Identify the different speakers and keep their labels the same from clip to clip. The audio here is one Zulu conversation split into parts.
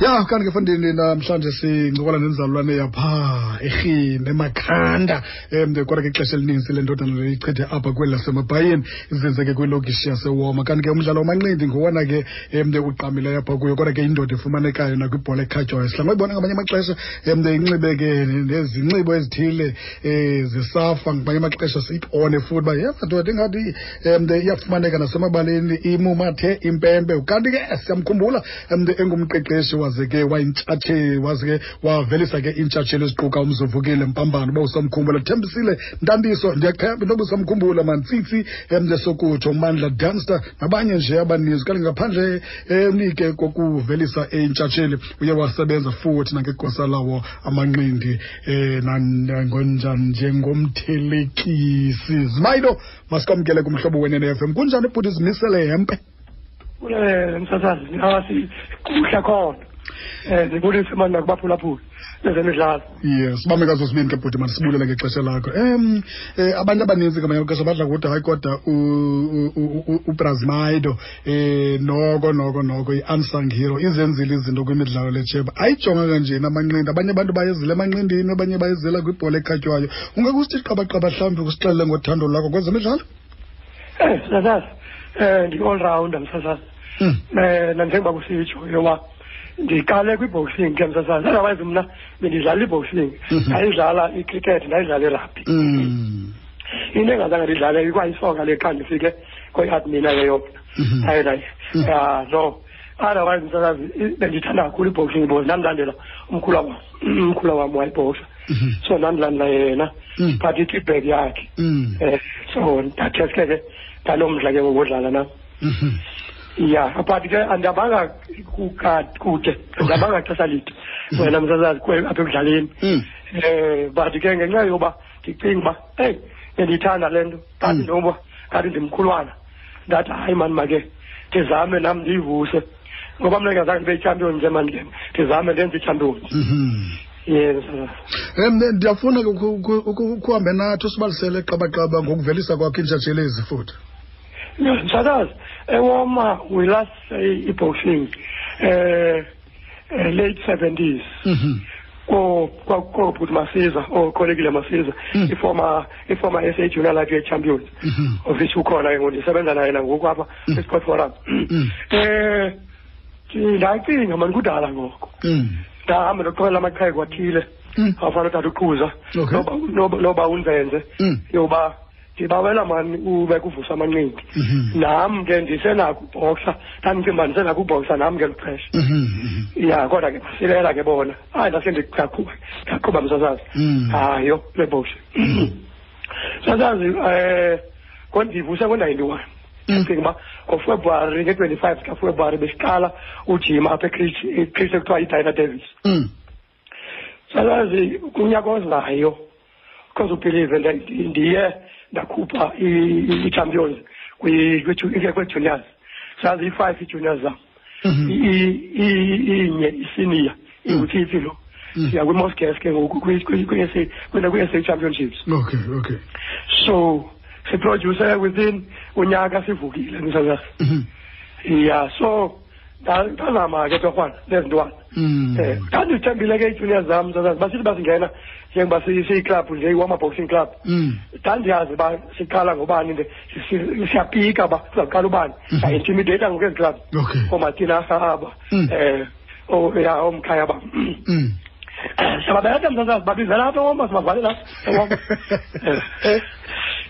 Speaker 1: ya kanti ke fondini namhlanje sincokola nenzalulwane yapha erhini emakhanda um kodwa ke ixesha elininzi le ndodana le ichithe apha kweli lasemabhayeni izenze ke kwilokishi yasewoma kanti ke umdlalo wamanqindi ngowona ke um uqamileyo apha kuyo kodwa ke indoda efumanekayo nakwibhola ekhatywayo sihla ngoyibona ngamanye amaxesha um inxibe ke nezinxibo ezithile um zisafa ngamanye amaxesha siyibone futhi uba yeva ndoda ingathi um iyafumaneka nasemabaleni imumathe impempe kanti ke siyamkhumbula um engumqeqeshi waze ke wayintshatsheli waze ke wavelisa ke iintshatsheli eziquka umzuvukile mpambano uba usamkhumbula thembisile ntambiso ndiyathemba into yoba usamkhumbula mantsitsi um sokutsho umandla danster nabanye nje abaninzi kanti ngaphandle emnike kokuvelisa intshatsheli uye wasebenza futhi nangegosa lawo amanqindi um njengomthelekisi zimayilo masikwamkele kumhlobo wenene FM kunjani ibhuti zimisele hempe
Speaker 2: kulele msasazi ngawasi kuhla khona um ndibulise mani nakubaphulaphula ezemidlalo
Speaker 1: yes bame kazosibini ke bhuti mandisibulele ngexesha lakho um eh, abantu abaninzi ngamanye amaxesha badla kude hayi kodwa ubrazmaido eh noko noko noko i-unsung hero izenzile izinto kwimidlalo letsheba ayijonga kanjena amanqindi abanye abantu bayezile emanqindini abanye bayezela kwibhola ekhatywayo ungeke usithi qabaqaba mhlawumbi usixelele ngothando lakho kwezemidlalo
Speaker 2: um msasazi um ndi-all rounder msasazi
Speaker 1: Mm.
Speaker 2: um nanjengoba kusitsho yoba ndiqale kwi-boxing ke msasazi otherwise mna bendidlala i-boxing
Speaker 1: Mhm.
Speaker 2: ndayidlala i-cricket ndayidlala irugby
Speaker 1: Mm.
Speaker 2: into engazange ndidlale ikwayisoka le xa ndifike kweadmina ke yona
Speaker 1: Mhm.
Speaker 2: hayi hayi
Speaker 1: Mm.
Speaker 2: ya no otherwise msasazi i- bendithanda kakhulu i-boxing because ndamlandela umkhula wam umkhula wam wayibhoxa
Speaker 1: Mhm.
Speaker 2: so ndandilandela yena
Speaker 1: Mm.
Speaker 2: but i-feedback yakhe
Speaker 1: Mm.
Speaker 2: um so ndatheske ke ndanomdla ke ngokudlala nam
Speaker 1: Mhm.
Speaker 2: ya but ke andabanga kuka- kude andabanga xesha lide wena msasazi kwe- apha emdlaleni
Speaker 1: Mm.
Speaker 2: um but ke ngenxa yoba ndicinga uba eyi bendiyithanda le nto kanti
Speaker 1: Mm.
Speaker 2: noba kanti ndimkhulwana ndathi hayi mani make ndizame nam ndiyivuse ngoba mna ngazange ndibe yi-champion nje mani ke ndizame ndenze i-champion
Speaker 1: Mhm.
Speaker 2: yes
Speaker 1: Em, ne- ndiyafuna ke uku- uku- uku- ukuhambe nathi usibalisele qabaqaba ngokuvelisa kwakho iintshatshelezi futhi
Speaker 2: msakazi ewoma we last say i-boxing um late seventies
Speaker 1: Mhm.
Speaker 2: ko- kwa- koobhuti masiza oqolekile masiza
Speaker 1: Mm.
Speaker 2: i-former i-former e s a junior life champions
Speaker 1: Mhm.
Speaker 2: of which ukhona ke ngoku ndisebenza naye nangoku apha
Speaker 1: Mm.
Speaker 2: kwi-sport forum
Speaker 1: Mm.
Speaker 2: um ndacinga mani kudala ngoko
Speaker 1: Mm.
Speaker 2: ndahamba ndoqokelela amaqheka wathile
Speaker 1: Mm.
Speaker 2: afana utata uqhuza
Speaker 1: Okay.
Speaker 2: noba- noba- noba unzenze
Speaker 1: Mm.
Speaker 2: yoba ndibawela mani ube kuvusa amanqindi
Speaker 1: Mhm.
Speaker 2: nam ke ndisenako ubhoxa ndandicinga uba ndisenako ubhoxa nam ngelo xesha
Speaker 1: Mhm.
Speaker 2: ya kodwa ke basilela ke bona hayi ndase ndaqhuba ndaqhuba msasazi
Speaker 1: Mm.
Speaker 2: hayo leboxi sasazi um kondivuse ngo-ninety-one
Speaker 1: Mm.
Speaker 2: ndicinga uba ngofebruwari nge-twenty-five kafebruwari besiqala ujima apha ekriste kuthiwa idina davis
Speaker 1: Mm.
Speaker 2: sasazi kunyaka ozayo cause ubhilive nda- ndiye ndakhupha i- i-champions kwi- kwi- kwe-juniors sazi i-five i-juniors zam
Speaker 1: Mhm.
Speaker 2: i- i- inye isinia
Speaker 1: Mm.
Speaker 2: iwuthithi lo
Speaker 1: Mm.
Speaker 2: siya kwi-moscas ke ngoku kwi-sa championships
Speaker 1: Okay, okay.
Speaker 2: so siproduce within unyaka sivukile msasazi
Speaker 1: Mhm.
Speaker 2: ya so nda- ndazama ke torhwana nezintwana
Speaker 1: Mm.
Speaker 2: um ndandizithembile ke ijuniors zam msasazi basithi basingena njengoba si- siyiklabhu nje i-warmer boxing club
Speaker 1: Mm.
Speaker 2: ndandiyazi uba siqala ngobani nde si- siyapika uba sizaqala ubani
Speaker 1: Mhm.
Speaker 2: ndaintimideyitha ngoku ezi club
Speaker 1: Okay.
Speaker 2: oomatinasa aba
Speaker 1: Mm.
Speaker 2: um ya oomkhaya ba
Speaker 1: Mm.
Speaker 2: sababeleka msasazi babizela apha woma sibavalela apha ewoma. Eh,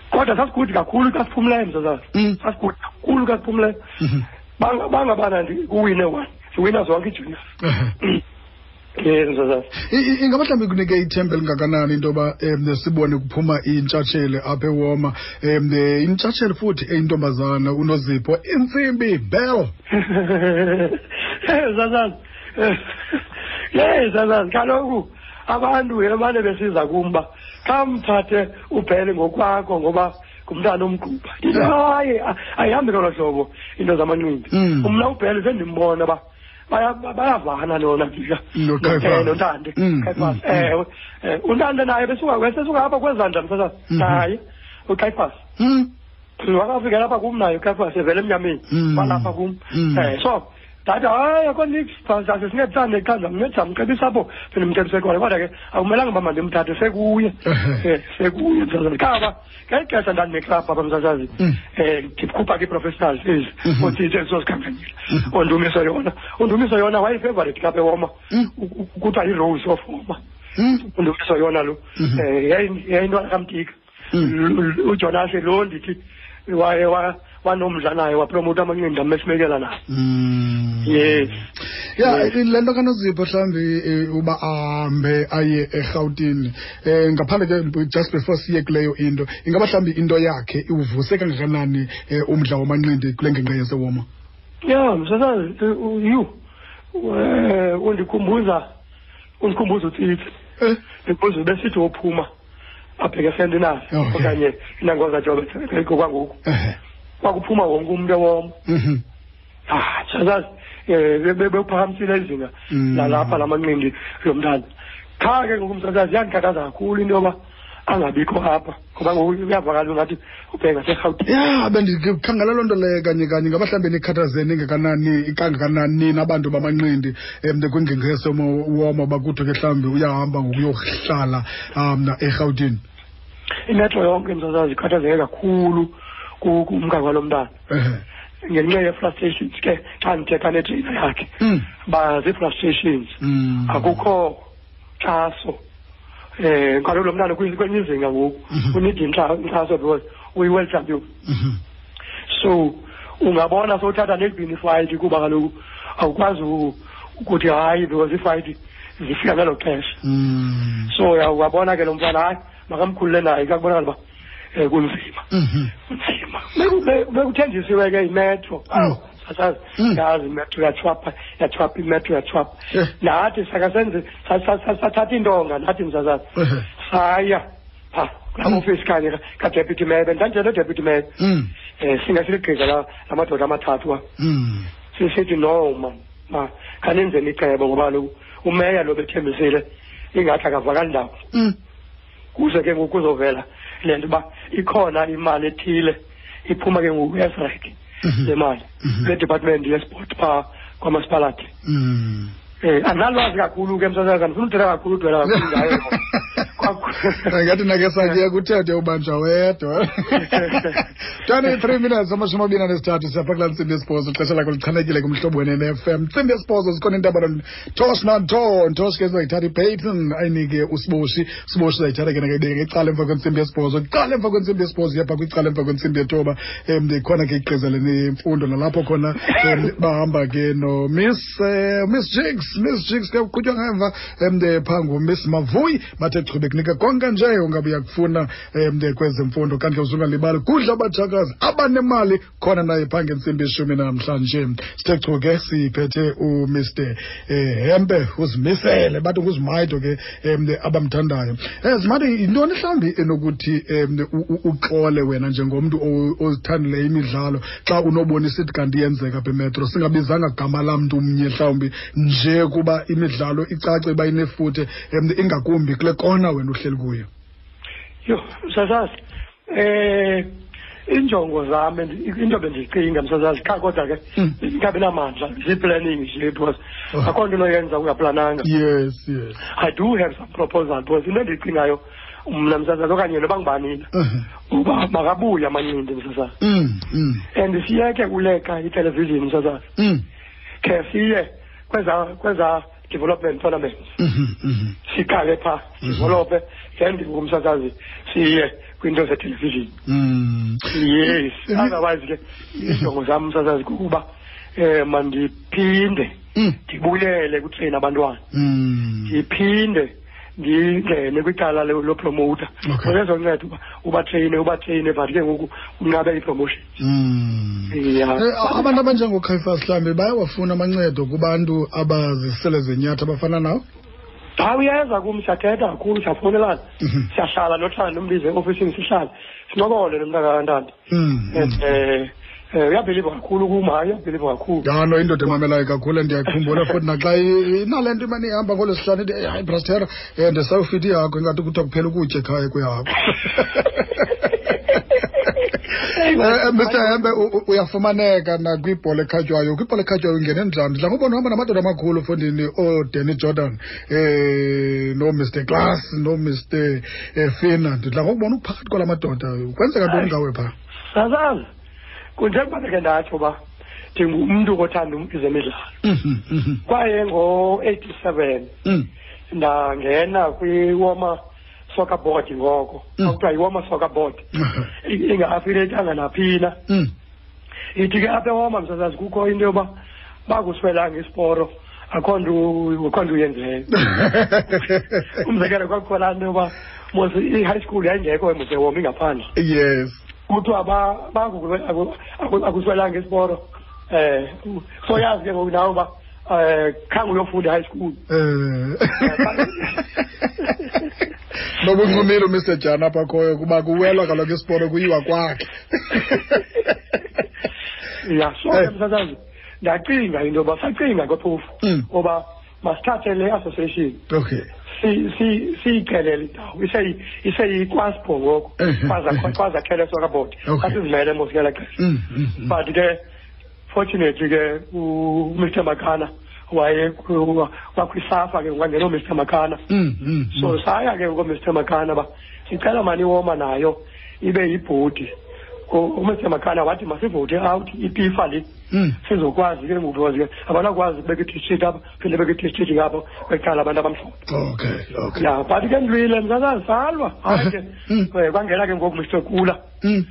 Speaker 2: kodwa sasigudi kakhulu kasiphumleyo msasazi
Speaker 1: Mm.
Speaker 2: sasigudi kakhulu kasiphumleyo
Speaker 1: Mhm.
Speaker 2: Banga- bangabana ndi- kuwine one siwina zonke ijuniors
Speaker 1: Eh.
Speaker 2: yes msasazi
Speaker 1: I- i- ingaba mhlawumbi kunike ithemba elingakanani into yoba um sibone kuphuma intshatsheli apha ewoma um intshatsheli futhi eyintombazana unozipho intsimbi bell
Speaker 2: sasazi ye sasazi kaloku abantu ebane besiza kumba khamthathe ubhele ngokwakho ngoba ngumntana omgquba Into hayi a- ayihambi ngolo hlobo into zamanqindi
Speaker 1: Mm.
Speaker 2: mna ubhele sendimbona uba baya- ba- bayavana nona ndika
Speaker 1: No, Khaifas.
Speaker 2: nontande
Speaker 1: Mm,
Speaker 2: Khaifas.
Speaker 1: mm,
Speaker 2: ewe eh, untande naye besuka besesuka apha kwezandla msasazi
Speaker 1: Mhm.
Speaker 2: naye uxayifasi
Speaker 1: Mm.
Speaker 2: wakafika lapha kum naye ukhafase vele emnyameni
Speaker 1: Mm.
Speaker 2: walapha kum
Speaker 1: Mm.
Speaker 2: um so ndathi hayi akho nix sasisingethisane iqanda mnceda mcebisa apho bendimcebise khona kodwa ke akumelanga uba mandimthathe sekuye
Speaker 1: Eh.
Speaker 2: um sekuye msazazini kaba ngeli xesha ndandineklabhu apha msazazini
Speaker 1: Mm.
Speaker 2: um ndikhupha ke ii-professionals ezi
Speaker 1: Mhm.
Speaker 2: otshintshe ezizozikhanganyela
Speaker 1: Mhm.
Speaker 2: ondumiso yona ondumiso yona wayefavorite klabhu ewoma
Speaker 1: Mm.
Speaker 2: U- u- kuthiwa yi-rose of woma
Speaker 1: Mm.
Speaker 2: undumiso yona lo
Speaker 1: Mhm.
Speaker 2: eh yayi- yayintwana kamtika
Speaker 1: Mm.
Speaker 2: L- l- ujonase lo ndithi waye wa- wanomdla naye wapromota amanqindi amesimekela naye
Speaker 1: Mm.
Speaker 2: yes
Speaker 1: ya
Speaker 2: Yes.
Speaker 1: le nto kanozipho mhlawumbi eh, uba ahambe aye erhawutini um ngaphandle ke b- just before siye kuleyo into ingaba mhlawumbi into yakhe iwuvuse kangakanani um umdla wamanqindi kule ngingqi yasewoma
Speaker 2: ya msasazi you eh, undikhumbuza undikhumbuza utsitsi
Speaker 1: Eh,
Speaker 2: because besithi wophuma abheke esendinazi
Speaker 1: Okay.
Speaker 2: okanye inangoza jobeko kwangoku
Speaker 1: ehe.
Speaker 2: kwakuphuma wonke umntu ewomo
Speaker 1: Mhm.
Speaker 2: ah msasazi um bephakamisile izinga
Speaker 1: Mm.
Speaker 2: lalapha lamanqindi lomntana qha ke ngoku msasazi yandikhathaza kakhulu into yoba angabikho apha ngoba ngoku kuyavakala ngathi ubheka serhawutini
Speaker 1: ya bendikhangela loo nto leyo kanye kanye ngaba mhlawumbi nikhathazeni engakanani kangakananini abantu bamanqindi um kwingingqi yasewoma bakuthiwe ke mhlawumbi uyahamba ngokuyohlala um erhawutini
Speaker 2: inetho yonke msasazi ikhathazeke kakhulu ku- kumkaka walo mntana
Speaker 1: ehe
Speaker 2: ngenxa ye-frustrations ke xa ndithetha netrina yakhe
Speaker 1: Mm.
Speaker 2: ba zii-frustrations
Speaker 1: Mm.
Speaker 2: akukho xaso um kaloku lo mntana kwi- kwenye izinga ngoku
Speaker 1: Mhm.
Speaker 2: unida inkxa- inkxaso because uyi-world champion
Speaker 1: Mhm.
Speaker 2: so ungabona sowuthatha nelibini ifayithi kuba kaloku awukwazi u- ukuthi hayi because ifayithi zifika ngelo xesha
Speaker 1: Mm.
Speaker 2: so uyawabona ke lo mfana hayi makamkhulule naye kakubonakala uba um kunzima
Speaker 1: Mhm.
Speaker 2: kunzima Beku- be- bekuthenjisiwe ke imetro
Speaker 1: Awu.
Speaker 2: sasazi
Speaker 1: Mm.
Speaker 2: yazi imetro yatshwapha yatshwapha imetro yatshwapha
Speaker 1: Eh.
Speaker 2: nathi saka senze sa- sa- sa- sathatha intonga nathi msasazi
Speaker 1: Ehe.
Speaker 2: saya pha
Speaker 1: Mm.
Speaker 2: kulaa ofisi kanye ka- kadeputy mayor bendanjele nodeputy mayor
Speaker 1: Mm.
Speaker 2: um singaseligqiza la la madoda amathathu wa
Speaker 1: Mm.
Speaker 2: sisithi no ma ma khanenzeni icebo ngoba kaloku umeya lo bethembisile ingathi akavakali ndawo
Speaker 1: Mm.
Speaker 2: kuze ke ngoku kuzovela le nto uba ikhona imali ethile iphuma ke ngoku esrek
Speaker 1: Mhm.
Speaker 2: le mali
Speaker 1: Mhm.
Speaker 2: le-department yesport phaa kwamasipalati
Speaker 1: Mm.
Speaker 2: um andinalwazi kakhulu ke msasazi andifuna uthetha kakhulu udwela kakhulu ngayo le nto. Kwaku-
Speaker 1: angathi nakesatye kuthethwe ubanjwa wedwa twenty-three minutes amashumi abini anesithathu siyapha kulaa ntsimbi yesibhozo ixesha lakho lichanekile kumhlobo wenene-f m ntsimbi yesibhozo zikhona iintabaron tosh nanto ntosh ke zizayithatha ibaton ayinike usiboshi usiboshi uzayithatha ke nakayibeke icala emva kwentsimbi yesibhozo icala emva kwentsimbi yesibhozo iyapha kwicala emva kwentsimbi yethoba um khona ke iqizele nemfundo nalapho khona em, bahamba ke no miss eh, miss jigs miss jigs ke uqhutywa ngemva um phaa ngumiss mavuyi bathe chube kunika konke nje ungabe uyakufuna um kwezemfundo kanti ke uzungalibali kudla abatshakazi abanemali khona naye phaa ngentsimbi eshumi namhlanje sithe chu ke siphethe umr um hempe uzimisele bathi nguzimayito ke um abamthandayo um zimayito yintoni mhlawumbi enokuthi um uxole wena njengomntu o- ozithandileyo imidlalo xa unobona isithi kanti iyenzeka apha emetro singabizanga gama lam mntu mnye mhlawumbi nje kuba imidlalo icace uba inefuthe um ingakumbi kule kona wena uhleli kuyo
Speaker 2: yho msasazi um iinjongo zam endi- into bendiyicinga msasazi qha kodwa ke
Speaker 1: Mm.
Speaker 2: ndingabi namandla zii-planning nje because
Speaker 1: Oh.
Speaker 2: akho nto inoyenza ungaplananga
Speaker 1: yes yes
Speaker 2: i do have some proposal because into endiyicingayo mna msasazi okanye noba ngibanina
Speaker 1: Mhm.
Speaker 2: uba makabuye amancindi msasazi
Speaker 1: Mm, mm,
Speaker 2: and siyeke uleka itelevision msasazi
Speaker 1: mm,
Speaker 2: khe siye kweza kweza development tournaments
Speaker 1: mhm, mhm.
Speaker 2: siqale phaa
Speaker 1: Mhm.
Speaker 2: sivolophe then ngumsasazi siye kwiinto zetelevision
Speaker 1: Mm.
Speaker 2: yes
Speaker 1: Mhm.
Speaker 2: otherwise ke iinjongo zam msasazi kukuba um mandiphinde
Speaker 1: Mm,
Speaker 2: ndibuyele kutreyina abantwana
Speaker 1: mm.
Speaker 2: ndiphinde ndingene kwicala le- lopromowutha
Speaker 1: Okay.
Speaker 2: ezonceda uba ubatreyine ubatreyine but ke ngoku unqabe ipromotion
Speaker 1: Mm.
Speaker 2: ya
Speaker 1: Eh, a- abantu abanjengokhayifas mhlawumbi bayawafuna amancedo kubantu abazisele zenyatha abafana nawo
Speaker 2: xa uyeza kum siyathetha kakhulu siyafowunelana
Speaker 1: Mhm.
Speaker 2: siyahlala nothanda umbize eofisini sihlale sincokole nomntakantandi
Speaker 1: Mm,
Speaker 2: um
Speaker 1: mm.
Speaker 2: um uyabhiliva kakhulu kum hayi uyabhiliva kakhulu
Speaker 1: ya no indoda emamelayo kakhulu ndiyakhumbula futhi naxa i- inale nto imane ihamba ngolo sihlanu ithi hayi brastera um ndisawufita ihakho ingathi kuthiwa kuphela ukutya ekhaya kwehaku Eh, eh, Mr Hembe u- u- uyafumaneka nakwibhola ekhatywayo kwibhola ekhatywayo ungene njani ndidla ngobona uhamba namadoda amakhulu fondini oodanny jordan um noomr glass noomr um fina ndidla ngokubona uphakathi kwala madoda kwenzeka ntoni
Speaker 2: Hayi.
Speaker 1: ngawe phaa
Speaker 2: sazazi kunjengoba ndike ndatsho uba ndingumntu othanda um- ezemidlalo
Speaker 1: Mhm, mhm,
Speaker 2: kwaye ngo-eighty-seven
Speaker 1: mhm,
Speaker 2: ndangena kwiwoma soccer board ngoko
Speaker 1: Mm.
Speaker 2: kwakuthiwa yiwoma soccer board
Speaker 1: mhm,
Speaker 2: I- inga-afilethanga naphina
Speaker 1: mhm.
Speaker 2: ithi ke apha ewoma msasazi kukho into yoba bakuswelanga isiporo akho nto akho nto uyenzileyo umzekelo kwakukhona into yoba mos i-high school yayingekho emosewoma ingaphandle
Speaker 1: yes
Speaker 2: kuthiwa ba- baku- aku- aku- akuswelanga isiporo um soyazi ke ngoku nawe uba um khange uyofunda i-high school
Speaker 1: um nobuncumile umr jan apha khoyo kuba kuwelwa kaloku isiporo kuyiwa kwakhe
Speaker 2: ya so
Speaker 1: Eh.
Speaker 2: ke msasazi ndacinga into yoba sacinga kwephofu
Speaker 1: Mm.
Speaker 2: oba masithathe le association
Speaker 1: okay
Speaker 2: si- si- siyicelele indawo Iseyi- iseyikwaspo ngoku
Speaker 1: Eh.
Speaker 2: kwazakhele sokabodi
Speaker 1: Okay.
Speaker 2: asizimele mosikela xesha
Speaker 1: Mm, mm, mm.
Speaker 2: but ke fortunately ke umr makana waye ku- wakwisafa ke kwangeno mr makana
Speaker 1: Mm, mm, mm.
Speaker 2: so saya ke komr makana ba sicela mani woma nayo ibe yibhodi umr makana wathi masivote out ipifa le
Speaker 1: Mm.
Speaker 2: sizokwazi ke ngoku because ke abanakwazi kubeka i-district apha phinde beka i-district ngapho beqala abantu abamhlophe
Speaker 1: okay okay
Speaker 2: ya but ke ndilwile msasazalwa hayi ke
Speaker 1: Mm.
Speaker 2: eh, kwangena ke ngoku mr kula
Speaker 1: Mm,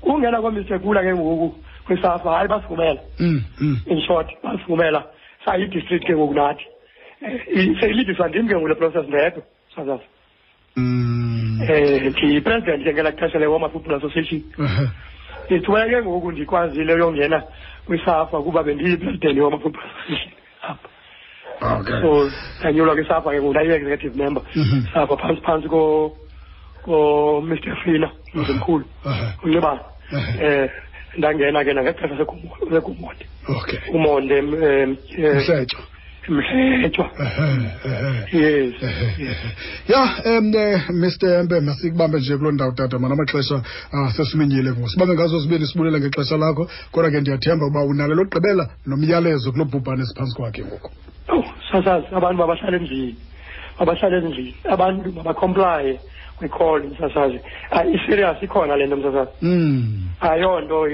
Speaker 2: kungena kwamr kula ke ngoku kwisafa hayi basivumela
Speaker 1: mm, mm.
Speaker 2: in short basivumela sayi-district ke ngoku nathi Eh, seyilidiswa ndim ke ngule process ndedwa msasaza
Speaker 1: Mm.
Speaker 2: um ndiyipresident ke ngelaa xesha le-woma football association
Speaker 1: Uh-huh.
Speaker 2: ndithiwe ke ngoku ndikwazile uyongena kwisafa kuba bendiyipresident yewoma football association apha
Speaker 1: Okay.
Speaker 2: so ndanyulwa ke sapha ke ngoku ndayi-executive member
Speaker 1: Mhm.
Speaker 2: sapha phantsi phantsi ko ko Mr Fina mzimkhulu
Speaker 1: Uh-huh.
Speaker 2: uncibana
Speaker 1: Mhm.
Speaker 2: eh ndangena ke nangexesha segumo- segumonde
Speaker 1: Okay.
Speaker 2: umonde em, eh,
Speaker 1: Mhletho.
Speaker 2: mhletywa
Speaker 1: eh,
Speaker 2: yes yes.
Speaker 1: ya um eh, mr mbe masikubambe nje kuloo ndawo tata mana amaxesha ah, sesiminyile ngoku sibambe ngazo sibini sibulela ngexesha lakho kodwa ke ndiyathemba uba unalo lokugqibela nomyalezo kulo bhubhane esiphantsi kwakhe ngoku
Speaker 2: oh sasazi abantu babahlala endlini babahlala endlini abantu babacomplaye kwi-call msasazi Ah, i-serious ikhona le nto msasazi
Speaker 1: Mm.
Speaker 2: ayonto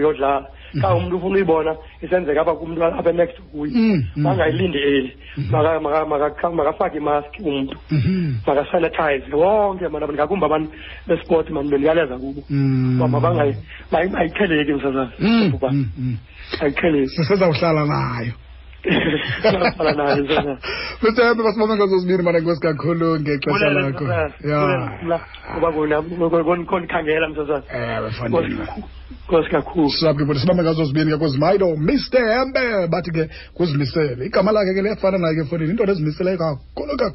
Speaker 2: yodlala xa umntu ufuna uyibona isenzeka apha kumntu apha next kuye
Speaker 1: Mm, mm.
Speaker 2: bangayilindeli
Speaker 1: Mhm.
Speaker 2: Maka- maka- maka- makafake imaski umntu
Speaker 1: Mhm.
Speaker 2: makasanitize wonke mana ngakumbi abantu besport mani bendiyaleza kubo
Speaker 1: Mm.
Speaker 2: uba mabangayi- mayi- mayiqheleki
Speaker 1: Mm,
Speaker 2: msasazi
Speaker 1: mm, mm.
Speaker 2: ayiqheleki
Speaker 1: sisezawuhlala nayo
Speaker 2: Sala nayo msasazi
Speaker 1: mr mbe masibambe ngazo sibini mana nkosi kakhulu ngexesha
Speaker 2: Bulele,
Speaker 1: lakho
Speaker 2: msasazi. Bulele,
Speaker 1: ya
Speaker 2: mla- kuba kona kondikhangela msasazi
Speaker 1: ewe
Speaker 2: Nkosi
Speaker 1: fandini
Speaker 2: kakhulu. nkosi kakhulu
Speaker 1: sisaphi futhi sibambe ngazo zibini ke kwezimayilo mr hembe bathi ke kuzimisele igama lakhe ke liyafana naye ke efowunini into ezimiseleyo kakhulu kakhulu